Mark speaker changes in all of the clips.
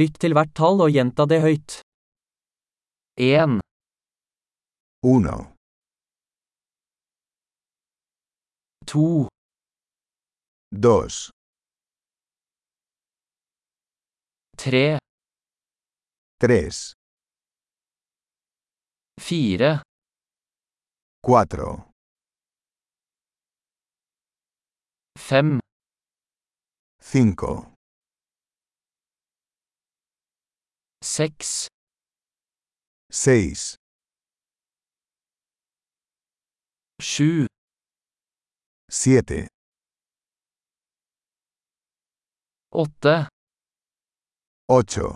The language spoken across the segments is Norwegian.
Speaker 1: Lytt til hvert tall og gjenta det høyt. 1,
Speaker 2: 1,
Speaker 1: 2,
Speaker 2: 2,
Speaker 1: 3,
Speaker 2: 3,
Speaker 1: 4,
Speaker 2: 4,
Speaker 1: 5,
Speaker 2: 5,
Speaker 1: 6,
Speaker 2: 6,
Speaker 1: 7,
Speaker 2: 7,
Speaker 1: 8,
Speaker 2: 8,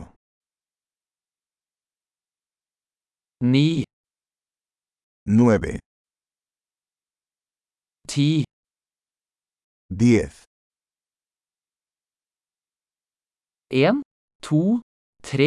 Speaker 1: 9,
Speaker 2: 9,
Speaker 1: 10,
Speaker 2: 10,
Speaker 1: 1, 2, 3,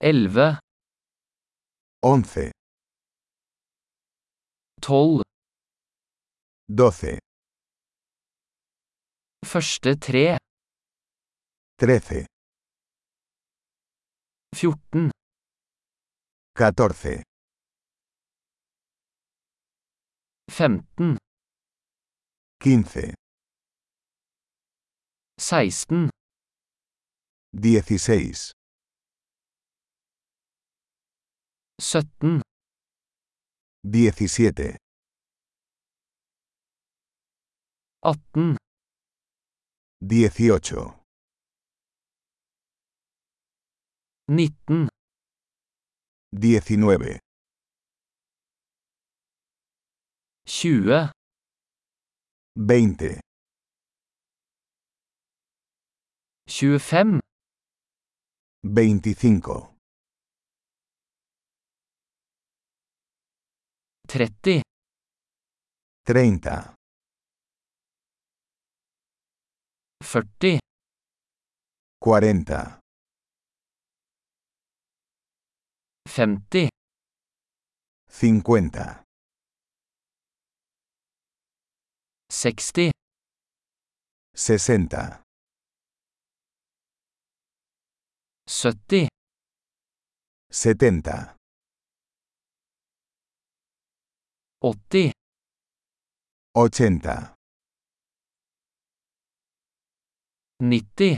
Speaker 1: 11,
Speaker 2: 11,
Speaker 1: 12,
Speaker 2: 12,
Speaker 1: første tre,
Speaker 2: 13,
Speaker 1: 14,
Speaker 2: 14,
Speaker 1: 15,
Speaker 2: 15,
Speaker 1: 16,
Speaker 2: 16,
Speaker 1: 17,
Speaker 2: 17,
Speaker 1: 18,
Speaker 2: 18,
Speaker 1: 19,
Speaker 2: 19,
Speaker 1: 20,
Speaker 2: 20,
Speaker 1: 25,
Speaker 2: 25,
Speaker 1: 30,
Speaker 2: 30,
Speaker 1: 40,
Speaker 2: 40,
Speaker 1: 50,
Speaker 2: 50,
Speaker 1: 60,
Speaker 2: 60,
Speaker 1: 70,
Speaker 2: 70,
Speaker 1: 80,
Speaker 2: 80,
Speaker 1: 90,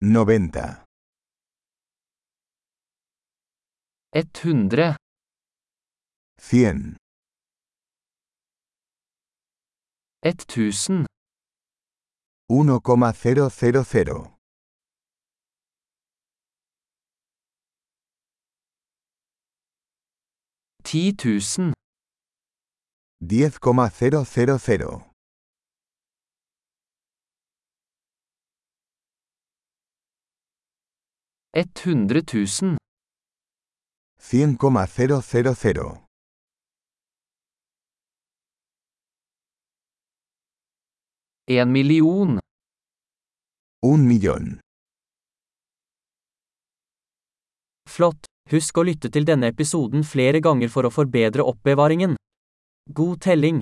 Speaker 2: 90,
Speaker 1: 100,
Speaker 2: 100,
Speaker 1: 1000,
Speaker 2: 1,000,
Speaker 1: 10 000,
Speaker 2: 10,000,
Speaker 1: 100 000,
Speaker 2: 100,000,
Speaker 1: 1 million,
Speaker 2: 1 millón.
Speaker 1: Flott! Husk å lytte til denne episoden flere ganger for å forbedre oppbevaringen. God telling!